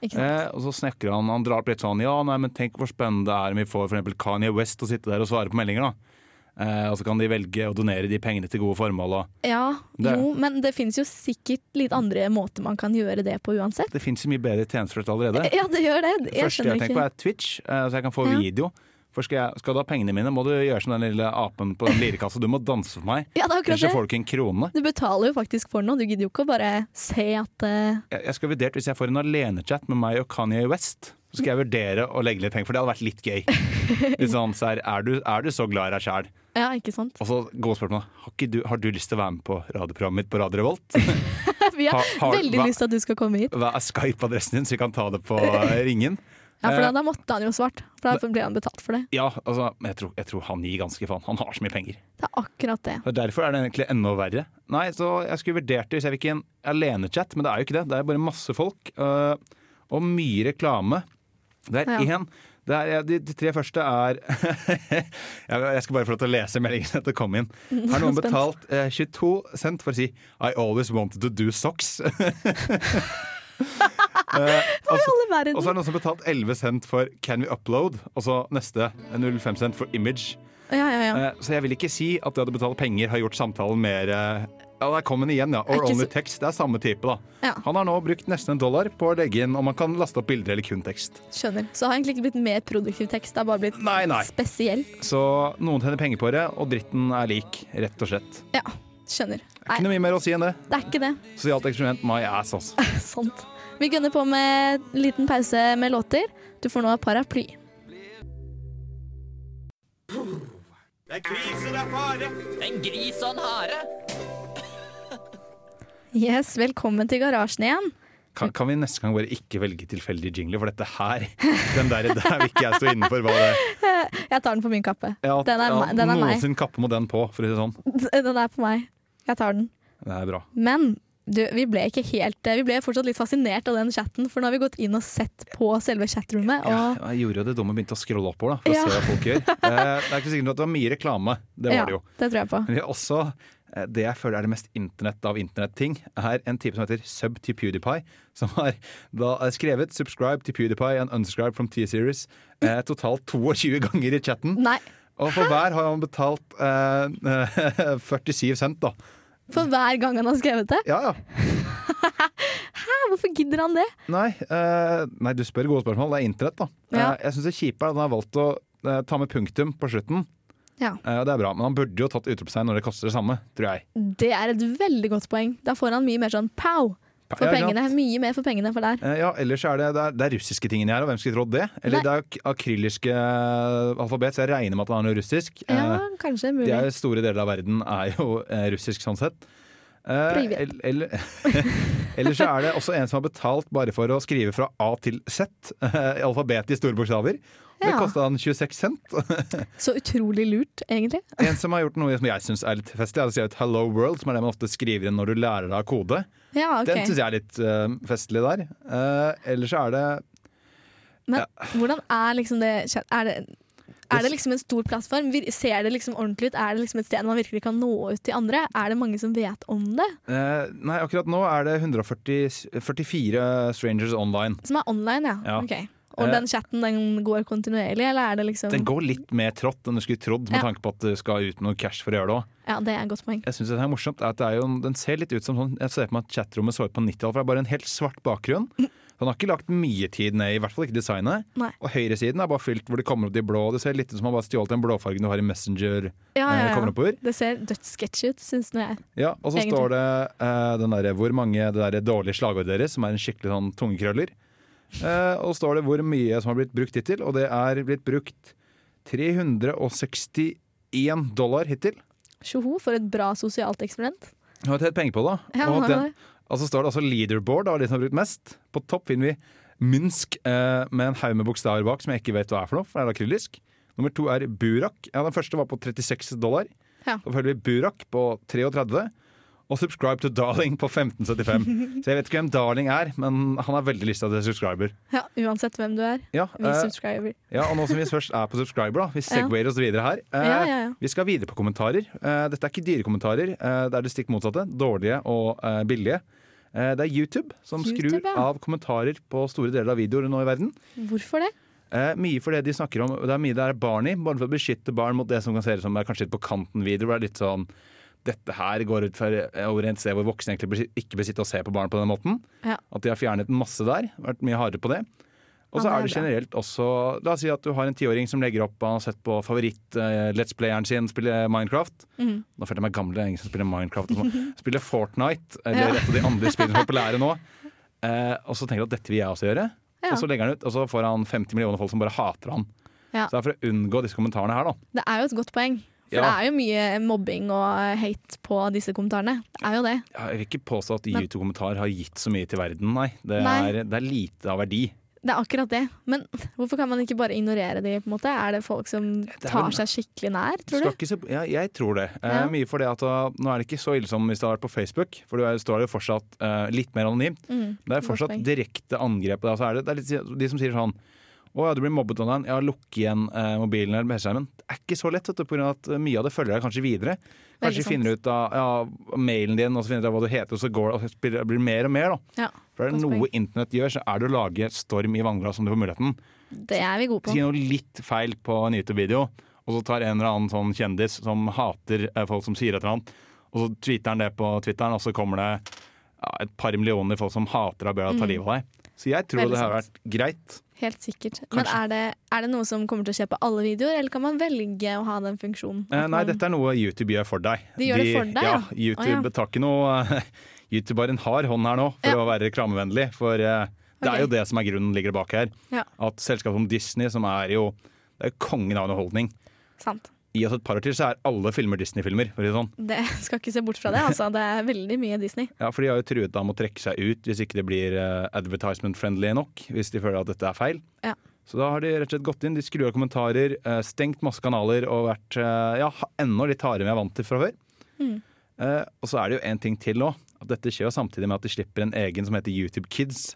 Speaker 2: Ikke sant?
Speaker 3: Eh, og så snakker han Han drar opp litt sånn Ja, nei, men tenk hvor spennende det er om vi får for eksempel Kanye West å sitte der og svare på meldinger, da. Eh, og så kan de velge å donere de pengene til gode formål. Og
Speaker 2: Ja,
Speaker 3: det er-
Speaker 2: jo, men det finnes jo sikkert litt andre måter man kan gjøre det på uansett.
Speaker 3: det fins så mye bedre tjenester for dette allerede.
Speaker 2: Ja, det gjør det.
Speaker 3: Det
Speaker 2: Jeg
Speaker 3: første
Speaker 2: skjønner
Speaker 3: jeg tenker på
Speaker 2: ikke.
Speaker 3: er Twitch, eh, så jeg kan få
Speaker 2: Ja.
Speaker 3: video. For skal, jeg, skal du ha pengene mine, må du gjøre som den lille apen på den lirkassa. Du må danse for meg,
Speaker 2: Ja, det er akkurat
Speaker 3: ellers så
Speaker 2: det.
Speaker 3: får du ikke en krone.
Speaker 2: Du betaler jo faktisk for noe. Du gidder jo ikke å bare se at eh,
Speaker 3: Jeg, jeg skal vurdert, Hvis jeg får en alenechat med meg og Kanye West, så skal jeg vurdere å legge litt penger, for det hadde vært litt gøy. Litt sånn, så her, er, du, er du så glad i deg sjæl?
Speaker 2: Ja, ikke sant?
Speaker 3: Og så gode spørsmål. Har, ikke du, har du lyst til å være med på radioprogrammet mitt på Radio Revolt?
Speaker 2: Vi har
Speaker 3: Har- har-
Speaker 2: veldig
Speaker 3: hva-
Speaker 2: lyst til at du skal komme hit.
Speaker 3: Hva er Skype-adressen din, så vi kan ta det på eh, ringen?
Speaker 2: Ja, for da,
Speaker 3: Eh,
Speaker 2: da måtte han jo svart. For da ble han betalt for det.
Speaker 3: Ja, altså, men jeg tror, jeg tror han gir ganske faen. Han har så mye penger.
Speaker 2: Det er akkurat det.
Speaker 3: Og Derfor er det egentlig enda verre. Nei, så jeg skulle vurdert det hvis jeg fikk en alenechat, men det er jo ikke det. Det er bare masse folk øh, og mye reklame. Det er
Speaker 2: Ja.
Speaker 3: én det er, de, de tre første er jeg, jeg skal bare få lov til å lese meldingen etter å komme inn. Har noen
Speaker 2: Spent.
Speaker 3: betalt eh, 22 cent for å si 'I always wanted to do socks'?
Speaker 2: Hva i alle
Speaker 3: Og så er
Speaker 2: verden?
Speaker 3: det noen som har betalt 11 cent for 'Can we upload?' Og så neste 05 cent for 'Image'.
Speaker 2: Ja, ja, ja.
Speaker 3: Eh, Så jeg vil ikke si at det å betale penger har gjort samtalen mer eh, Ja, der kom den igjen, ja.
Speaker 2: Er
Speaker 3: Or
Speaker 2: ikke
Speaker 3: only
Speaker 2: så-
Speaker 3: text. Det er samme type, da.
Speaker 2: Ja.
Speaker 3: Han har nå brukt nesten en dollar på å legge inn om man kan laste opp bilder eller kun tekst.
Speaker 2: Skjønner. Så det har egentlig ikke blitt mer produktiv tekst. Det har bare blitt
Speaker 3: Nei, nei.
Speaker 2: spesiell.
Speaker 3: Så noen tjener penger på det, og dritten er lik, rett og slett.
Speaker 2: Ja, skjønner.
Speaker 3: Ikke noe
Speaker 2: Nei,
Speaker 3: mye mer å si enn det.
Speaker 2: det er ikke det.
Speaker 3: Sosialt eksperiment, my ass, altså.
Speaker 2: Sant. Vi gønner på med en liten pause med låter. Du får nå paraply. Det er krise, det er fare. Det er en gris og en hare. Yes, velkommen til garasjen igjen.
Speaker 3: Kan, kan vi neste gang bare ikke velge tilfeldige jingler, for dette her Den der, der vil ikke jeg stå innenfor. Hva det
Speaker 2: Jeg tar den på min kappe.
Speaker 3: ja,
Speaker 2: Den er meg- den er meg.
Speaker 3: Noensinne kappe må den på, for å si det sånn.
Speaker 2: Den er på meg. Jeg tar den.
Speaker 3: Det er bra.
Speaker 2: Men du, vi ble ikke helt eh, Vi ble fortsatt litt fascinert av den chatten, for nå har vi gått inn og sett på selve chatrommet.
Speaker 3: Ja,
Speaker 2: Og
Speaker 3: jeg gjorde jo det dumme og begynte å scrolle oppover da, for
Speaker 2: Ja.
Speaker 3: å se hva folk gjør. Eh, det er ikke sikkert at det var mye reklame, det var det jo.
Speaker 2: Ja, det tror jeg på.
Speaker 3: Men det er også eh, det jeg føler er det mest internett av internetting, er en type som heter Sub to PewDiePie, som har da eh, skrevet 'subscribe to PewDiePie and unscribe from T-series' eh, totalt 22 ganger i chatten.
Speaker 2: Nei,
Speaker 3: Og for hver har han betalt eh, 47 cent, da.
Speaker 2: for hver gang han har skrevet det.
Speaker 3: Ja, ja.
Speaker 2: Hæ, hvorfor gidder han det?
Speaker 3: Nei, eh, nei, du spør gode spørsmål. Det er internett, da.
Speaker 2: Ja.
Speaker 3: Eh, jeg syns det kjipe er at han har valgt å eh, ta med punktum på slutten.
Speaker 2: Ja.
Speaker 3: Eh, og det er bra, men han burde jo tatt utropstegn når det koster det samme, tror jeg.
Speaker 2: Det er et veldig godt poeng. Da får han mye mer sånn pow for
Speaker 3: Ja, ikke
Speaker 2: pengene.
Speaker 3: sant?
Speaker 2: Mye mer for pengene for der.
Speaker 3: Eh, ja, ellers er det, det, er, det er russiske tingene her, og hvem skulle trodd det? Eller
Speaker 2: Nei.
Speaker 3: det er ak- akryliske eh, alfabet, så jeg regner med at det er noe russisk.
Speaker 2: Ja,
Speaker 3: Eh,
Speaker 2: kanskje.
Speaker 3: de er
Speaker 2: Mulig.
Speaker 3: jo store deler av verden er jo eh, russisk sånn sett. Eh,
Speaker 2: Privet.
Speaker 3: el- eller- Ellers så er det også en som har betalt bare for å skrive fra A til Z, eh, alfabetet i store bokstaver. Det
Speaker 2: Ja.
Speaker 3: kosta han 26 cent.
Speaker 2: Så utrolig lurt, egentlig.
Speaker 3: En som har gjort noe som jeg syns er litt festlig, er å skrive ut 'Hello World', som er det man ofte skriver inn når du lærer deg kode.
Speaker 2: Ja,
Speaker 3: Den
Speaker 2: ok.
Speaker 3: syns jeg er litt eh, festlig der. Eh, ellers så er det
Speaker 2: Men hvordan er liksom det Er det er det liksom en stor plattform? Vir- Ser det liksom ordentlig ut? Er det liksom et sted man virkelig kan nå ut til andre? Er det mange som vet om det?
Speaker 3: eh, Nei, akkurat nå er det 144 strangers online.
Speaker 2: Som er online, ja.
Speaker 3: Ja.
Speaker 2: Ok. Og
Speaker 3: Eh.
Speaker 2: den chatten den går kontinuerlig, eller er det liksom
Speaker 3: Den går litt mer trått enn du skulle trodd, med
Speaker 2: Ja.
Speaker 3: tanke på at du skal ut med noe cash for å gjøre det òg.
Speaker 2: Ja, det er et godt poeng.
Speaker 3: Jeg synes det er morsomt er at det er jo, Den ser litt ut som sånn Jeg ser for meg at chatrommet så ut på 90-tallet, for det er bare en helt svart bakgrunn. Så Han har ikke lagt mye tid ned i, i hvert fall ikke designet.
Speaker 2: Nei.
Speaker 3: Og høyresiden er bare fylt hvor det kommer opp de blå. Det ser litt ut som han bare stjålet den blåfargen du har i Messenger.
Speaker 2: Ja,
Speaker 3: eh,
Speaker 2: ja,
Speaker 3: kommer
Speaker 2: ja.
Speaker 3: oppover.
Speaker 2: Det ser dødssketsj ut, syns nå jeg.
Speaker 3: Ja, og så
Speaker 2: Egentlig.
Speaker 3: står det eh, den derre hvor mange det derre dårlige slagordet deres, som er en skikkelig sånn tungekrøller. Eh, og så står det hvor mye som har blitt brukt hittil, og det er blitt brukt 361 dollar hittil.
Speaker 2: Tjoho, for et bra sosialt eksperiment.
Speaker 3: Jeg har tjent penger på det.
Speaker 2: Ja,
Speaker 3: og,
Speaker 2: han
Speaker 3: at
Speaker 2: har
Speaker 3: den, og så står det altså leaderboard, da, de som har brukt mest. På topp finner vi Minsk eh, med en haug med bokstaver bak som jeg ikke vet hva er for noe, for det er akrylisk. Nummer to er Burak. Ja, den første var på 36 dollar.
Speaker 2: Ja.
Speaker 3: Så følger vi Burak på 33. Og Subscribe to Darling på 1575. Så jeg vet ikke hvem Darling er, men han har veldig lyst til at jeg er subscriber.
Speaker 2: Ja, uansett hvem du er.
Speaker 3: Ja,
Speaker 2: Vi
Speaker 3: eh,
Speaker 2: subscriber.
Speaker 3: ja, og nå som vi først er på subscriber, da, vi segwayer oss videre her. Eh,
Speaker 2: Ja, ja, ja.
Speaker 3: Vi skal videre på kommentarer. Eh, dette er ikke dyre kommentarer, eh, det er det stikk motsatte. Dårlige og eh, billige. Eh, det er YouTube som
Speaker 2: YouTube,
Speaker 3: skrur
Speaker 2: ja.
Speaker 3: av kommentarer på store deler av videoer nå i verden.
Speaker 2: Hvorfor det?
Speaker 3: Eh, mye for det de snakker om, det er mye det er barn i, bare for å beskytte barn mot det som kan se ut som er kanskje litt på kanten-videoer. hvor Det er litt sånn dette her går ut for eh, over en sted hvor voksne egentlig besi- ikke bør sitte og se på barn på den måten.
Speaker 2: Ja.
Speaker 3: At de har fjernet masse der. Vært mye hardere på det.
Speaker 2: Ja, det
Speaker 3: Og så
Speaker 2: er
Speaker 3: er det
Speaker 2: bra.
Speaker 3: generelt også La oss si at du har en tiåring som legger opp Han har sett på favoritt-let's playeren sin spille Minecraft.
Speaker 2: Mhm.
Speaker 3: Nå føler jeg meg gammel, det er ingen som spiller Minecraft. og sånn. Spiller Fortnite, eller et av de andre spillene som er populære nå. Eh, og så tenker han at dette vil jeg også gjøre.
Speaker 2: Ja.
Speaker 3: Og så legger han ut, og så får han 50 millioner folk som bare hater han.
Speaker 2: Ja.
Speaker 3: Så det er for å unngå disse kommentarene her, da.
Speaker 2: Det er jo et godt poeng. For
Speaker 3: Ja.
Speaker 2: det er jo mye mobbing og hate på disse kommentarene. Det er jo det.
Speaker 3: Jeg vil ikke påstå at
Speaker 2: Men-
Speaker 3: YouTube-kommentarer har gitt så mye til verden, nei. Det
Speaker 2: Nei.
Speaker 3: er, det er lite av verdi.
Speaker 2: Det er akkurat det. Men hvorfor kan man ikke bare ignorere de, på en måte? Er det folk som
Speaker 3: er
Speaker 2: tar
Speaker 3: vel-
Speaker 2: seg skikkelig nær, tror
Speaker 3: Skal
Speaker 2: du?
Speaker 3: ikke se, ja, jeg tror det. Eh,
Speaker 2: Ja.
Speaker 3: Mye for det at uh, Nå er det ikke så ille som hvis det hadde vært på Facebook, for du er, står det jo fortsatt eh, litt mer anonymt.
Speaker 2: Mm,
Speaker 3: Det er
Speaker 2: godt
Speaker 3: fortsatt
Speaker 2: poeng.
Speaker 3: direkte angrep. på deg, og så er det, det er litt, de som sier sånn å ja, du blir mobbet online. Ja, lukk igjen eh, mobilen eller PC-skjermen. Det er ikke så lett, vet du, pga. at eh, mye av det følger deg kanskje videre.
Speaker 2: Veldig
Speaker 3: Kanskje
Speaker 2: sant.
Speaker 3: finner du ut av ja, mailen din, og så finner du ut av hva du heter, og så går det og så blir det blir mer og mer, da.
Speaker 2: Ja,
Speaker 3: For er det
Speaker 2: godt
Speaker 3: noe
Speaker 2: poeng.
Speaker 3: internett gjør, så er det å lage storm i vannglass om du får muligheten.
Speaker 2: Det er vi gode på.
Speaker 3: Si noe litt feil på en YouTube-video, og så tar en eller annen sånn kjendis som hater eh, folk som sier et eller annet, og så tweeter han det på Twitteren, og så kommer det ja, et par millioner folk som hater deg og ber deg ta livet av deg. Så jeg tror
Speaker 2: Mm. Veldig
Speaker 3: det har vært greit.
Speaker 2: Helt sikkert. Men er det, er det noe som kommer til å skje på alle videoer, eller kan man velge å ha den funksjonen?
Speaker 3: Eh,
Speaker 2: At
Speaker 3: nei,
Speaker 2: man-
Speaker 3: dette er noe YouTube gjør for deg.
Speaker 2: De gjør det for deg,
Speaker 3: ja?
Speaker 2: ja? Å,
Speaker 3: YouTube
Speaker 2: ja.
Speaker 3: tar ikke noe YouTube har en hard hånd her nå for
Speaker 2: Ja.
Speaker 3: å være reklamevennlig, for eh, det
Speaker 2: Ok.
Speaker 3: er jo det som er grunnen ligger bak her.
Speaker 2: Ja.
Speaker 3: At selskap som Disney, som er jo det er jo kongen av underholdning,
Speaker 2: Sant.
Speaker 3: i oss et par år til så er alle filmer Disney-filmer. for å si det sånn.
Speaker 2: Det skal ikke se bort fra det. Altså, det er veldig mye Disney.
Speaker 3: Ja, for de har jo truet da med å trekke seg ut hvis ikke det blir eh, advertisement-friendly nok. Hvis de føler at dette er feil.
Speaker 2: Ja.
Speaker 3: Så da har de rett og slett gått inn, de skrur av kommentarer, eh, stengt masse kanaler og vært eh, ja, ha- enda litt hardere enn jeg er vant til fra før.
Speaker 2: Mm.
Speaker 3: Eh, og så er det jo en ting til nå. At dette skjer jo samtidig med at de slipper en egen som heter YouTube Kids.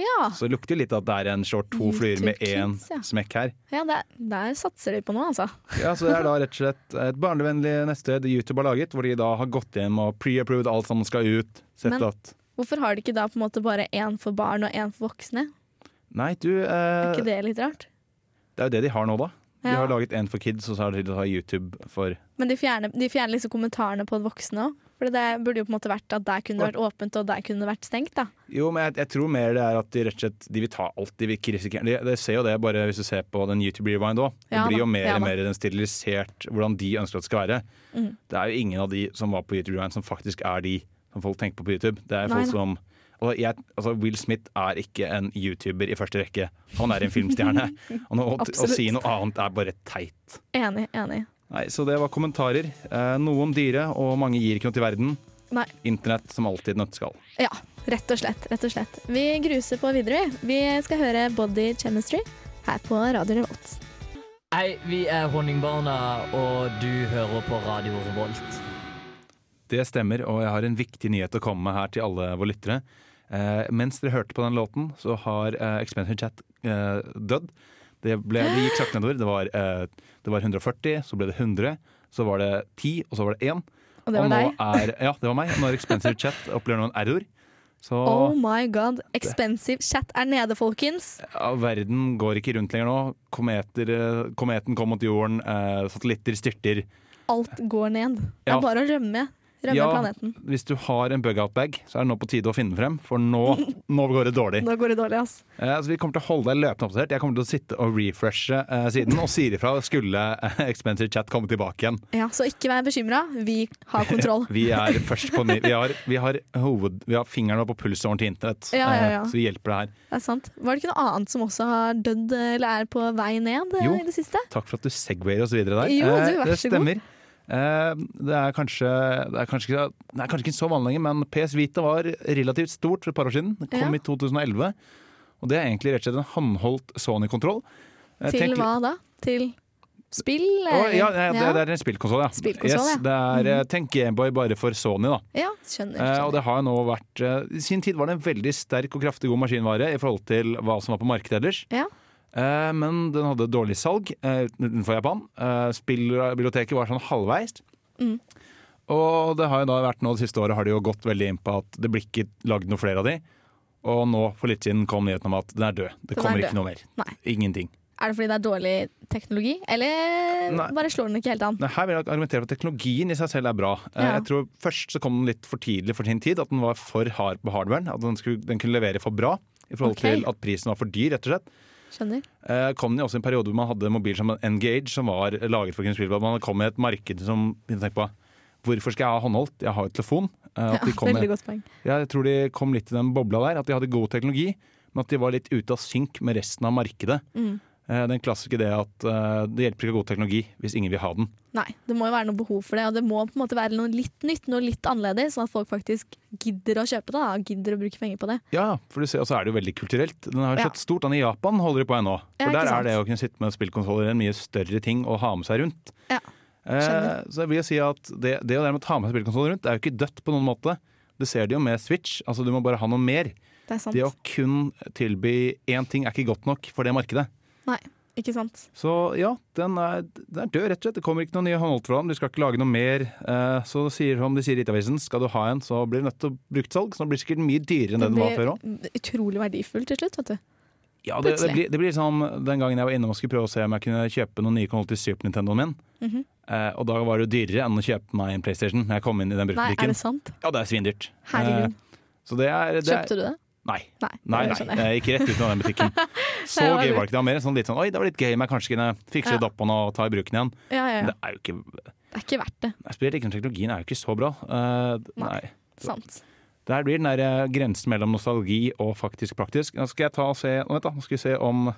Speaker 2: Ja,
Speaker 3: Så det lukter jo litt at det er en short to flyer med
Speaker 2: YouTube
Speaker 3: én
Speaker 2: Kids, ja.
Speaker 3: smekk her.
Speaker 2: ja der, der satser de på noe, altså.
Speaker 3: Ja, så Det er da rett og slett et barnevennlig nettsted YouTube har laget, hvor de da har gått hjem og pre-approved alt som skal ut. Sett
Speaker 2: Men-
Speaker 3: at
Speaker 2: Hvorfor har de ikke da på en måte bare én for barn og én for voksne?
Speaker 3: Nei, du
Speaker 2: Er
Speaker 3: eh,
Speaker 2: ikke det litt rart?
Speaker 3: Det er jo det de har nå, da. De
Speaker 2: Ja.
Speaker 3: har laget en for kids, og så har de har YouTube for
Speaker 2: Men de fjerner, de fjerner liksom kommentarene på voksne òg. For det burde jo på en måte vært at der kunne det vært åpent, og der kunne det vært stengt. da.
Speaker 3: Jo, men jeg, jeg tror mer det er at de rett og slett De vil ta alt. De vil ikke risikere De, de ser jo det bare hvis du ser på den YouTube Rewind òg. Det
Speaker 2: Ja da,
Speaker 3: blir jo mer
Speaker 2: ja
Speaker 3: og
Speaker 2: da.
Speaker 3: mer den stilisert hvordan de ønsker at det skal være.
Speaker 2: Mhm.
Speaker 3: Det er jo ingen av de som var på YouTube Rewind, som faktisk er de som folk tenker på på YouTube. Det er
Speaker 2: Nei,
Speaker 3: folk
Speaker 2: nei.
Speaker 3: som altså, jeg, altså Will Smith er ikke en YouTuber i første rekke. Han er en filmstjerne. og nå, å, å
Speaker 2: Absolutt.
Speaker 3: si noe annet er bare teit.
Speaker 2: Enig, enig.
Speaker 3: Nei, Så det var kommentarer. Eh, noen dyre, og mange gir ikke noe til verden.
Speaker 2: Nei.
Speaker 3: Internett som alltid nøtteskall.
Speaker 2: Ja, rett og slett. rett og slett. Vi gruser på videre, vi. Vi skal høre Body Chemistry her på Radio Revolt.
Speaker 7: Hei, vi er Honningbarna, og du hører på Radio Revolt.
Speaker 3: Det stemmer, og jeg har en viktig nyhet å komme med her til alle våre lyttere. Eh, mens dere hørte på den låten, så har eh, Expensive Chat eh, dødd. Det, ble, det gikk sakte nedover. Det var, eh, det var 140, så ble det 100, så var det 10, og så var det 1.
Speaker 2: Og det var
Speaker 3: nå
Speaker 2: deg.
Speaker 3: Er, ja, det var meg. Nå har Expensive Chat opplever noen error. Så
Speaker 2: Oh my god. Expensive chat er nede, folkens.
Speaker 3: ja, verden går ikke rundt lenger nå. Kometer, eh, kometen kom mot jorden, eh, satellitter styrter.
Speaker 2: Alt går ned. Det
Speaker 3: Ja.
Speaker 2: er bare å rømme. Rømme planeten.
Speaker 3: Hvis du har en bug-out-bag, så er det nå på tide å finne frem, for nå, nå går det dårlig.
Speaker 2: Nå går det dårlig, ass.
Speaker 3: Eh, så vi kommer til å holde deg løpende oppdatert. Jeg kommer til å sitte og refreshe eh, siden og sier ifra skulle eh, Expensive Chat komme tilbake igjen.
Speaker 2: Ja, så ikke vær bekymra. Vi har kontroll.
Speaker 3: Vi er først på ny... Vi har, vi har, hoved, vi har fingrene på pulsåren til internett,
Speaker 2: Ja, ja,
Speaker 3: eh,
Speaker 2: ja.
Speaker 3: så vi hjelper deg her.
Speaker 2: Det er sant. Var det ikke noe annet som også har dødd eller er på vei ned eh,
Speaker 3: Jo.
Speaker 2: i det siste?
Speaker 3: Takk for at du segwayer oss videre der.
Speaker 2: Jo, du,
Speaker 3: Eh,
Speaker 2: vær
Speaker 3: det
Speaker 2: så god.
Speaker 3: stemmer. Eh, Det er, kanskje, det, er kanskje, ikke- det er kanskje ikke så vanlig lenger, men PS Vita var relativt stort for et par år siden. Det kom
Speaker 2: Ja.
Speaker 3: i 2011. Og det er egentlig rett og slett en håndholdt Sony-kontroll. Eh,
Speaker 2: Til
Speaker 3: tenk-
Speaker 2: hva da? Til spill?
Speaker 3: Å,
Speaker 2: eller?
Speaker 3: ja, ja, det, det er en spillkonsoll, ja.
Speaker 2: Spillkonsoll, ja. Mhm.
Speaker 3: det er, eh, Tenk Gameboy bare for Sony, da.
Speaker 2: Ja, skjønner.
Speaker 3: Eh, og
Speaker 2: skjønner.
Speaker 3: det har jo nå vært eh, I sin tid var det en veldig sterk og kraftig god maskinvare i forhold til hva som var på markedet ellers.
Speaker 2: Ja.
Speaker 3: Eh, men den hadde dårlig salg eh, utenfor Japan. Eh, spillbiblioteket var sånn halvveis.
Speaker 2: Mm.
Speaker 3: Og det har jo da vært nå det siste året har det jo gått veldig inn på at det blir ikke lagd noe flere av de. Og nå for litt siden kom nyheten om at den er død. Det
Speaker 2: Den er
Speaker 3: kommer
Speaker 2: død.
Speaker 3: ikke noe mer.
Speaker 2: Nei.
Speaker 3: Ingenting.
Speaker 2: Er det fordi det er dårlig teknologi, eller
Speaker 3: Nei.
Speaker 2: bare slår den ikke helt an?
Speaker 3: Nei, Her vil jeg argumentere for at teknologien i seg selv er bra. Eh,
Speaker 2: Ja.
Speaker 3: Jeg tror Først så kom den litt for tidlig for sin tid. At den var for hard på hardwaren. At den, skulle, den kunne levere for bra. i forhold
Speaker 2: Ok.
Speaker 3: til at prisen var for dyr, rett og slett.
Speaker 2: Skjønner.
Speaker 3: Eh, kom den jo også i en periode hvor man hadde en mobil som Engage, som var laget for Knut Spielberg. Man kom i et marked som begynte å tenke på Hvorfor skal jeg ha håndholdt? Jeg har jo telefon. Eh,
Speaker 2: Ja,
Speaker 3: at de kom,
Speaker 2: veldig godt poeng.
Speaker 3: jeg tror de kom litt i den bobla der, at de hadde god teknologi, men at de var litt ute av synk med resten av markedet.
Speaker 2: Mm.
Speaker 3: Eh, Den klassiske det at eh, det hjelper ikke å ha god teknologi hvis ingen vil ha den.
Speaker 2: Nei, det må jo være noe behov for det, og det må på en måte være noe litt nytt, noe litt annerledes, sånn at folk faktisk gidder å kjøpe det, da, og gidder å bruke penger på det.
Speaker 3: Ja, for du ser, og så er det jo veldig kulturelt. Den har jo
Speaker 2: Ja.
Speaker 3: slått stort an i Japan, holder de på ennå.
Speaker 2: Ja,
Speaker 3: For
Speaker 2: ikke
Speaker 3: der
Speaker 2: sant.
Speaker 3: er det å kunne sitte med spillkonsoller en mye større ting å ha med seg rundt.
Speaker 2: Ja,
Speaker 3: eh,
Speaker 2: skjønner.
Speaker 3: så jeg vil jo si at det, det å dermed ta med seg spillkonsoller rundt, det er jo ikke dødt på noen måte. Du ser det jo med Switch, altså du må bare ha noe mer.
Speaker 2: Det er sant.
Speaker 3: Det å kun tilby én ting er ikke godt nok for det markedet.
Speaker 2: Nei, ikke sant.
Speaker 3: Så ja, den er, den er død, rett og slett. Det kommer ikke noen nye håndholdt fra den. Du skal ikke lage noe mer. Eh, så sier, som de sier i Itavisen, skal du ha en, så blir det nødt til å bruktsalg. Så den blir sikkert mye dyrere enn det den var før òg.
Speaker 2: blir utrolig verdifullt til slutt, vet du.
Speaker 3: Ja, det, det,
Speaker 2: plutselig.
Speaker 3: blir, det blir som den gangen jeg var innom og skulle prøve å se om jeg kunne kjøpe noen nye konsoller til Super Nintendoen min.
Speaker 2: Mhm.
Speaker 3: Eh, og da var det jo dyrere enn å kjøpe meg en PlayStation når jeg kom inn i den
Speaker 2: Nei, er
Speaker 3: bruktbutikken.
Speaker 2: det sant?
Speaker 3: Ja, det er svindyrt.
Speaker 2: Herregud.
Speaker 3: Eh, så det er, det er
Speaker 2: Kjøpte du det?
Speaker 3: Nei.
Speaker 2: Nei.
Speaker 3: Nei,
Speaker 2: det
Speaker 3: nei,
Speaker 2: skjønner jeg.
Speaker 3: jeg gikk rett ut av den butikken. Så
Speaker 2: Det var lurt.
Speaker 3: gøy var det ikke. Det var mer en sånn litt sånn oi, det var litt gøy, men jeg kanskje kunne fikse
Speaker 2: Ja.
Speaker 3: litt opp på den og ta i bruken igjen.
Speaker 2: Ja, ja,
Speaker 3: Men
Speaker 2: ja.
Speaker 3: det er jo ikke
Speaker 2: Det er ikke verdt det.
Speaker 3: Nei, Spesielt ikke når teknologien er jo ikke så bra. Eh, d-
Speaker 2: Nei.
Speaker 3: nei.
Speaker 2: Sant.
Speaker 3: Der blir den der eh, grensen mellom nostalgi og faktisk praktisk. Nå skal jeg ta og se Nå, vent da, nå skal vi se om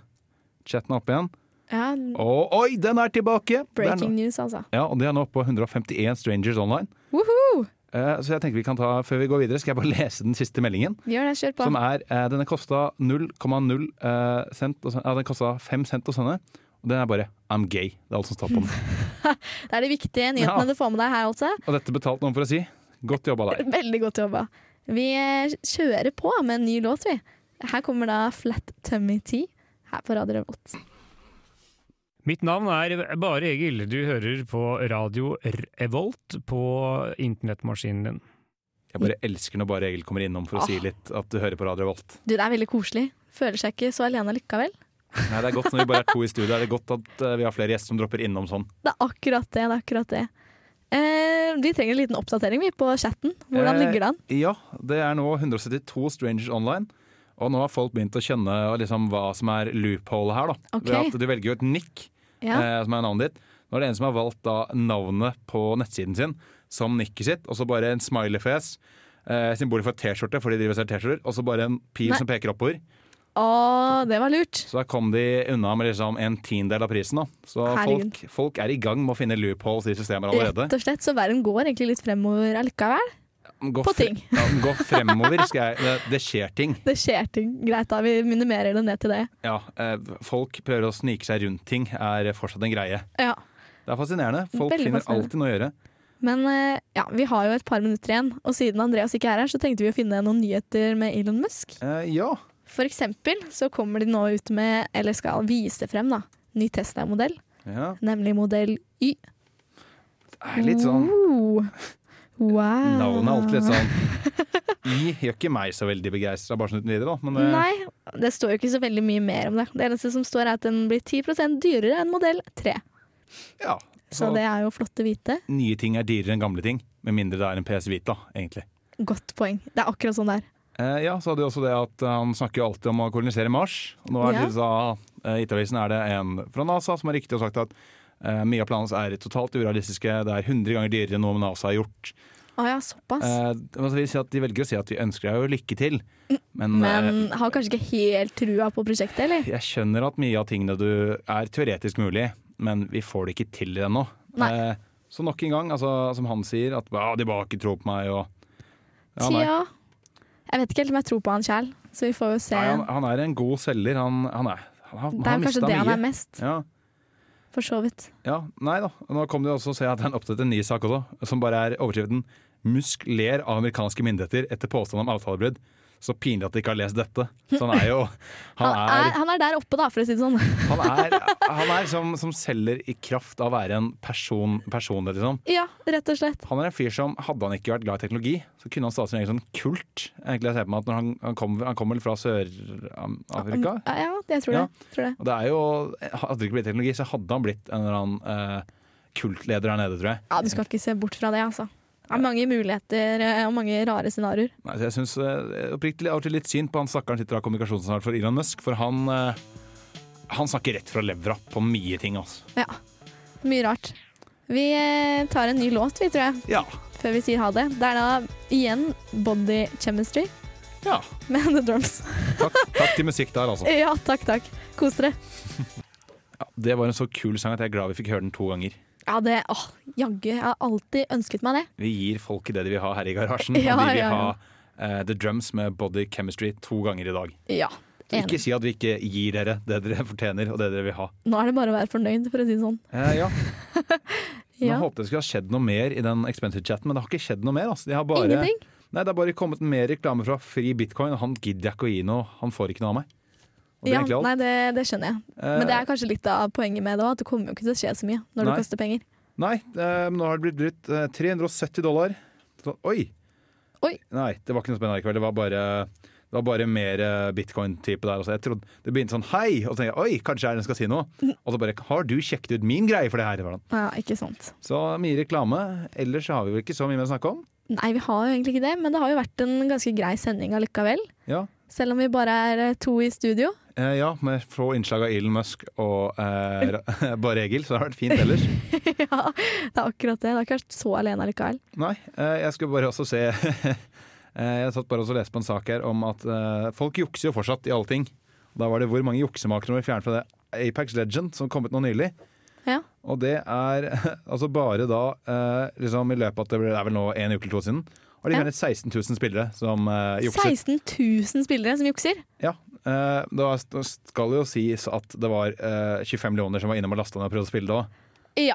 Speaker 3: chatten er oppe igjen.
Speaker 2: Ja,
Speaker 3: Å, oi, den er tilbake! Det er
Speaker 2: breaking
Speaker 3: nå-
Speaker 2: news, altså.
Speaker 3: ja, og Det er nå oppe på 151 strangers online.
Speaker 2: Woho!
Speaker 3: Eh, så jeg tenker vi kan ta, før vi går videre, skal jeg bare lese den siste meldingen.
Speaker 2: Gjør det, kjør på.
Speaker 3: Som er, eh, Denne kosta 0,0 eh, cent å sende- Ja, den kosta 5 cent å sende. Og den er bare 'I'm gay'. Det er alt som står på den.
Speaker 2: Det er de viktige
Speaker 3: Ja.
Speaker 2: nyhetene du får med deg her, altså.
Speaker 3: Og dette betalte noen for å si. Godt jobba der.
Speaker 2: Veldig godt jobba. Vi eh, kjører på med en ny låt, vi. Her kommer da Flat Tummy Tea her på Radio Revolt.
Speaker 8: Mitt navn er Bare Egil. Du hører på radio Revolt på internettmaskinen din.
Speaker 3: Jeg bare elsker når bare Egil kommer innom for å si litt at du hører på Radio Volt.
Speaker 2: Du, det er veldig koselig. Føler seg ikke så alene likevel.
Speaker 3: Nei, det er godt når vi bare er to i studio. Er det godt at eh, vi har flere gjester som dropper innom sånn.
Speaker 2: Det er akkurat det. det, er akkurat det. Eh, vi trenger en liten oppdatering vi på chatten. Hvordan
Speaker 3: Eh,
Speaker 2: ligger det an?
Speaker 3: Ja, det er nå 172 strangers online. Og nå har folk begynt å kjenne liksom, hva som er loopholet her. da.
Speaker 2: Ok.
Speaker 3: Ved at du velger jo et nick,
Speaker 2: Ja.
Speaker 3: eh, som er navnet ditt. Nå er det en som har valgt da, navnet på nettsiden sin som nicket sitt, og så bare en smiley-face. Eh, symbolet for T-skjorte, for de driver og selger T-skjorter. Og så bare en pil
Speaker 2: Nei.
Speaker 3: som peker oppover.
Speaker 2: Å, det var lurt.
Speaker 3: Så da kom de unna med liksom en tiendedel av prisen. Da. Så
Speaker 2: Herregud.
Speaker 3: folk, folk er i gang med å finne loopholes i systemer
Speaker 2: Rett
Speaker 3: allerede.
Speaker 2: og slett, så verden går egentlig litt fremover allikevel.
Speaker 3: Gå
Speaker 2: på
Speaker 3: fre-
Speaker 2: ting.
Speaker 3: ja, gå fremover. Skal jeg, det, det skjer ting.
Speaker 2: Det skjer ting. Greit, da. Vi minimerer det ned til det.
Speaker 3: Ja, eh, folk prøver å snike seg rundt ting, er fortsatt en greie.
Speaker 2: Ja.
Speaker 3: Det er fascinerende. Folk
Speaker 2: Veldig
Speaker 3: finner
Speaker 2: fascinerende.
Speaker 3: alltid noe å gjøre.
Speaker 2: Men eh, ja, vi har jo et par minutter igjen, og siden Andreas ikke er her, så tenkte vi å finne noen nyheter med Elon Musk.
Speaker 3: Eh, ja.
Speaker 2: For eksempel så kommer de nå ut med, eller skal vise frem da, ny Tesla-modell,
Speaker 3: ja.
Speaker 2: nemlig modell Y.
Speaker 3: Det er litt sånn
Speaker 2: Oh, wow.
Speaker 3: Navnet er alltid litt sånn I gjør ikke meg så veldig begeistra, bare sånn uten videre, da. Men eh,
Speaker 2: Nei, det står jo ikke så veldig mye mer om det. Det eneste som står er at den blir 10 dyrere enn modell 3.
Speaker 3: ja.
Speaker 2: Så det er jo flott å vite.
Speaker 3: Nye ting er dyrere enn gamle ting. Med mindre det er en PS Vita, egentlig.
Speaker 2: Godt poeng. Det er akkurat sånn det er.
Speaker 3: Eh, ja, så hadde jo også det at eh, Han snakker jo alltid om å kolonisere Mars. Og nå er det
Speaker 2: Ja.
Speaker 3: litt sånn, eh, i Itavisen er det en fra NASA som har riktig og sagt at eh, mye av planene hans er totalt urealistiske. Det er 100 ganger dyrere enn noe NASA har gjort.
Speaker 2: Å ja, såpass.
Speaker 3: Eh, altså, vi sier at de velger å si at vi ønsker deg jo lykke til, men, eh,
Speaker 2: Men har kanskje ikke helt trua på prosjektet, eller?
Speaker 3: jeg skjønner at mye av tingene du er teoretisk mulig, men vi får det ikke til ennå.
Speaker 2: Nei.
Speaker 3: Eh, så nok en gang, altså, som han sier, at «Ah, de bare har ikke tro på meg og Ja, nei.
Speaker 2: Tja. Jeg vet ikke helt om jeg tror på han sjæl, så vi får jo se.
Speaker 3: Nei, han, han er en god selger. Han, han er han, har- han
Speaker 2: det er
Speaker 3: har
Speaker 2: jo kanskje
Speaker 3: mista
Speaker 2: det han
Speaker 3: mye.
Speaker 2: er mest,
Speaker 3: Ja.
Speaker 2: for så vidt.
Speaker 3: Ja, nei da. Nå kom det jo også å se at han opptatt en ny sak også, som bare er overskriften 'Musk ler av amerikanske myndigheter etter påstand om avtalebrudd'. Så pinlig at de ikke har lest dette. Så han er jo Han
Speaker 2: Han er,
Speaker 3: er,
Speaker 2: han er der oppe, da, for å si det sånn.
Speaker 3: han er, han er som, som selger i kraft av å være en person, personlighet, liksom.
Speaker 2: ja, rett og slett.
Speaker 3: Han er en fyr som, hadde han ikke vært glad i teknologi, så kunne han startet sin egen sånn kult. Egentlig jeg ser på meg at når han, han kommer han kom vel fra Sør-Afrika?
Speaker 2: Ja, ja, jeg tror
Speaker 3: Ja.
Speaker 2: det. Tror det.
Speaker 3: Og det er jo Hadde det ikke blitt teknologi, så hadde han blitt en eller annen eh, kultleder der nede, tror jeg.
Speaker 2: Ja, Du skal ikke se bort fra det, altså. Det er mange muligheter eh, og mange rare scenarioer.
Speaker 3: Nei, så jeg syns oppriktig av og til litt synd på han stakkaren sitter av kommunikasjonsansvar for Elon Musk, for han eh, han snakker rett fra levra på mye ting, altså.
Speaker 2: Ja. Mye rart. Vi eh, tar en ny låt, vi, tror jeg,
Speaker 3: Ja.
Speaker 2: før vi sier ha det. Det er da igjen Body Chemistry
Speaker 3: ja.
Speaker 2: med The Drums.
Speaker 3: Takk, takk til musikk der, altså.
Speaker 2: Ja, takk, takk. Kos dere.
Speaker 3: Ja, det var en så kul sang at jeg er glad vi fikk høre den to ganger.
Speaker 2: Ja, det Åh, jaggu. Jeg har alltid ønsket meg det.
Speaker 3: Vi gir folk det de vil ha her i garasjen,
Speaker 2: Ja,
Speaker 3: og de vil
Speaker 2: ja, ja.
Speaker 3: ha eh, The Drums med Body Chemistry to ganger i dag.
Speaker 2: Ja.
Speaker 3: Så ikke si at vi ikke gir dere det dere fortjener og det dere vil ha.
Speaker 2: Nå er det bare å være fornøyd, for å si det sånn.
Speaker 3: Eh, ja. Nå
Speaker 2: Ja.
Speaker 3: håpet jeg skulle ha skjedd noe mer i den expensive-chatten, men det har ikke skjedd noe mer. Altså. De har bare,
Speaker 2: Ingenting?
Speaker 3: Nei, det har bare kommet mer reklame fra Fri Bitcoin, og han gidder jeg ikke å gi noe. Han får ikke noe av meg. Og det er
Speaker 2: Ja,
Speaker 3: egentlig alt.
Speaker 2: nei, det, det skjønner jeg. Men det er kanskje litt av poenget med det òg, at det kommer jo ikke til å skje så mye når
Speaker 3: Eh. Nei.
Speaker 2: det koster penger.
Speaker 3: Nei, eh, nå har det blitt brutt eh, 370 dollar. Så, oi.
Speaker 2: Oi.
Speaker 3: Nei, det var ikke noe spennende likevel. Det var bare, det var bare mer eh, bitcoin-type der. Altså, jeg trodde, det begynte sånn hei, og så tenkte jeg oi, kanskje er det den skal si noe. Og så bare har du sjekket ut min greie for det her? Var det.
Speaker 2: Ja, ikke sant.
Speaker 3: Så mye reklame. Ellers så har vi vel ikke så mye mer å snakke om.
Speaker 2: Nei, vi har jo egentlig ikke det, men det har jo vært en ganske grei sending allikevel.
Speaker 3: Ja,
Speaker 2: Selv om vi bare er eh, to i studio.
Speaker 3: eh, ja med få innslag av Elon Musk og eh, Ra- Bare Egil, så det har vært fint ellers.
Speaker 2: ja, det er akkurat det. Det har ikke vært så alene allikevel.
Speaker 3: Nei, eh, jeg skulle bare også se eh, Jeg satt bare også og leste på en sak her om at eh, folk jukser jo fortsatt i alle ting. Da var det hvor mange juksemakere var fjernet fra det. Apex Legend, som kom ut nå nylig.
Speaker 2: Ja.
Speaker 3: Og det er altså bare da eh, liksom i løpet av at det ble- det er vel nå en uke eller to siden. Har de
Speaker 2: Ja.
Speaker 3: fjernet 16 000 spillere som eh, jukset.
Speaker 2: 16 000 spillere som jukser!
Speaker 3: Ja, eh, det var- det skal jo sies at det var eh, 25 millioner som var innom og lasta ned og prøvde å spille det òg.
Speaker 2: Ja,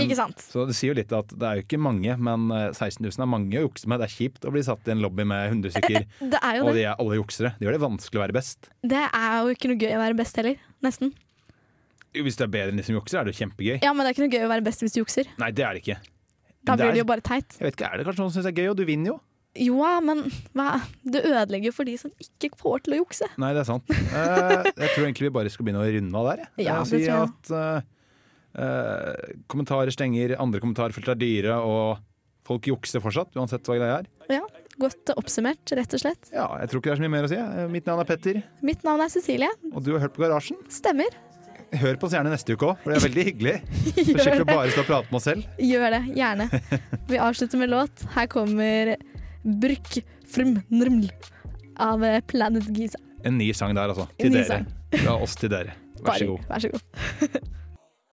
Speaker 2: ikke sant?
Speaker 3: Så det sier jo litt at det er jo ikke mange, men eh, 16 000 er mange å jukse med. Det er kjipt å bli satt i en lobby med 100 stykker
Speaker 2: Det er jo
Speaker 3: Og de
Speaker 2: det.
Speaker 3: er alle juksere. Det gjør det vanskelig å være best.
Speaker 2: Det er jo ikke noe gøy å være best heller. Nesten.
Speaker 3: Jo, Hvis du er bedre enn de som jukser, er det jo kjempegøy.
Speaker 2: Ja, men det er ikke noe gøy å være best hvis du jukser.
Speaker 3: Nei, det er det ikke.
Speaker 2: Da
Speaker 3: Det er-
Speaker 2: blir det jo bare teit.
Speaker 3: Jeg vet ikke, Er det kanskje noen som syns det er gøy, og du vinner jo?
Speaker 2: Jo, ja, men hva? det ødelegger jo for de som ikke får til å jukse.
Speaker 3: Nei, det er sant. Eh, jeg tror egentlig vi bare skal begynne å runde av der. jeg.
Speaker 2: Ja, det
Speaker 3: Eh, si
Speaker 2: tror
Speaker 3: at eh, eh, kommentarer stenger, andre kommentarfelt er dyre, og folk jukser fortsatt, uansett hva greia er.
Speaker 2: Ja, Godt oppsummert, rett og slett.
Speaker 3: Ja, jeg tror ikke det er så mye mer å si. jeg. Eh, Mitt navn er Petter,
Speaker 2: Mitt navn er Cecilie.
Speaker 3: og du har hørt på Garasjen.
Speaker 2: Stemmer.
Speaker 3: Hør på oss gjerne neste uke òg, for det er veldig hyggelig.
Speaker 2: Gjør
Speaker 3: Så slipper vi
Speaker 2: det.
Speaker 3: bare å stå og prate med oss selv.
Speaker 2: Gjør det, gjerne. Vi avslutter med låt. Her kommer Bruk frum nrml av Planet Giza.
Speaker 3: En ny sang der, altså.
Speaker 2: En
Speaker 3: Til
Speaker 2: ny
Speaker 3: dere.
Speaker 2: sang.
Speaker 3: Fra oss til dere. Vær så god.
Speaker 2: Vær så god.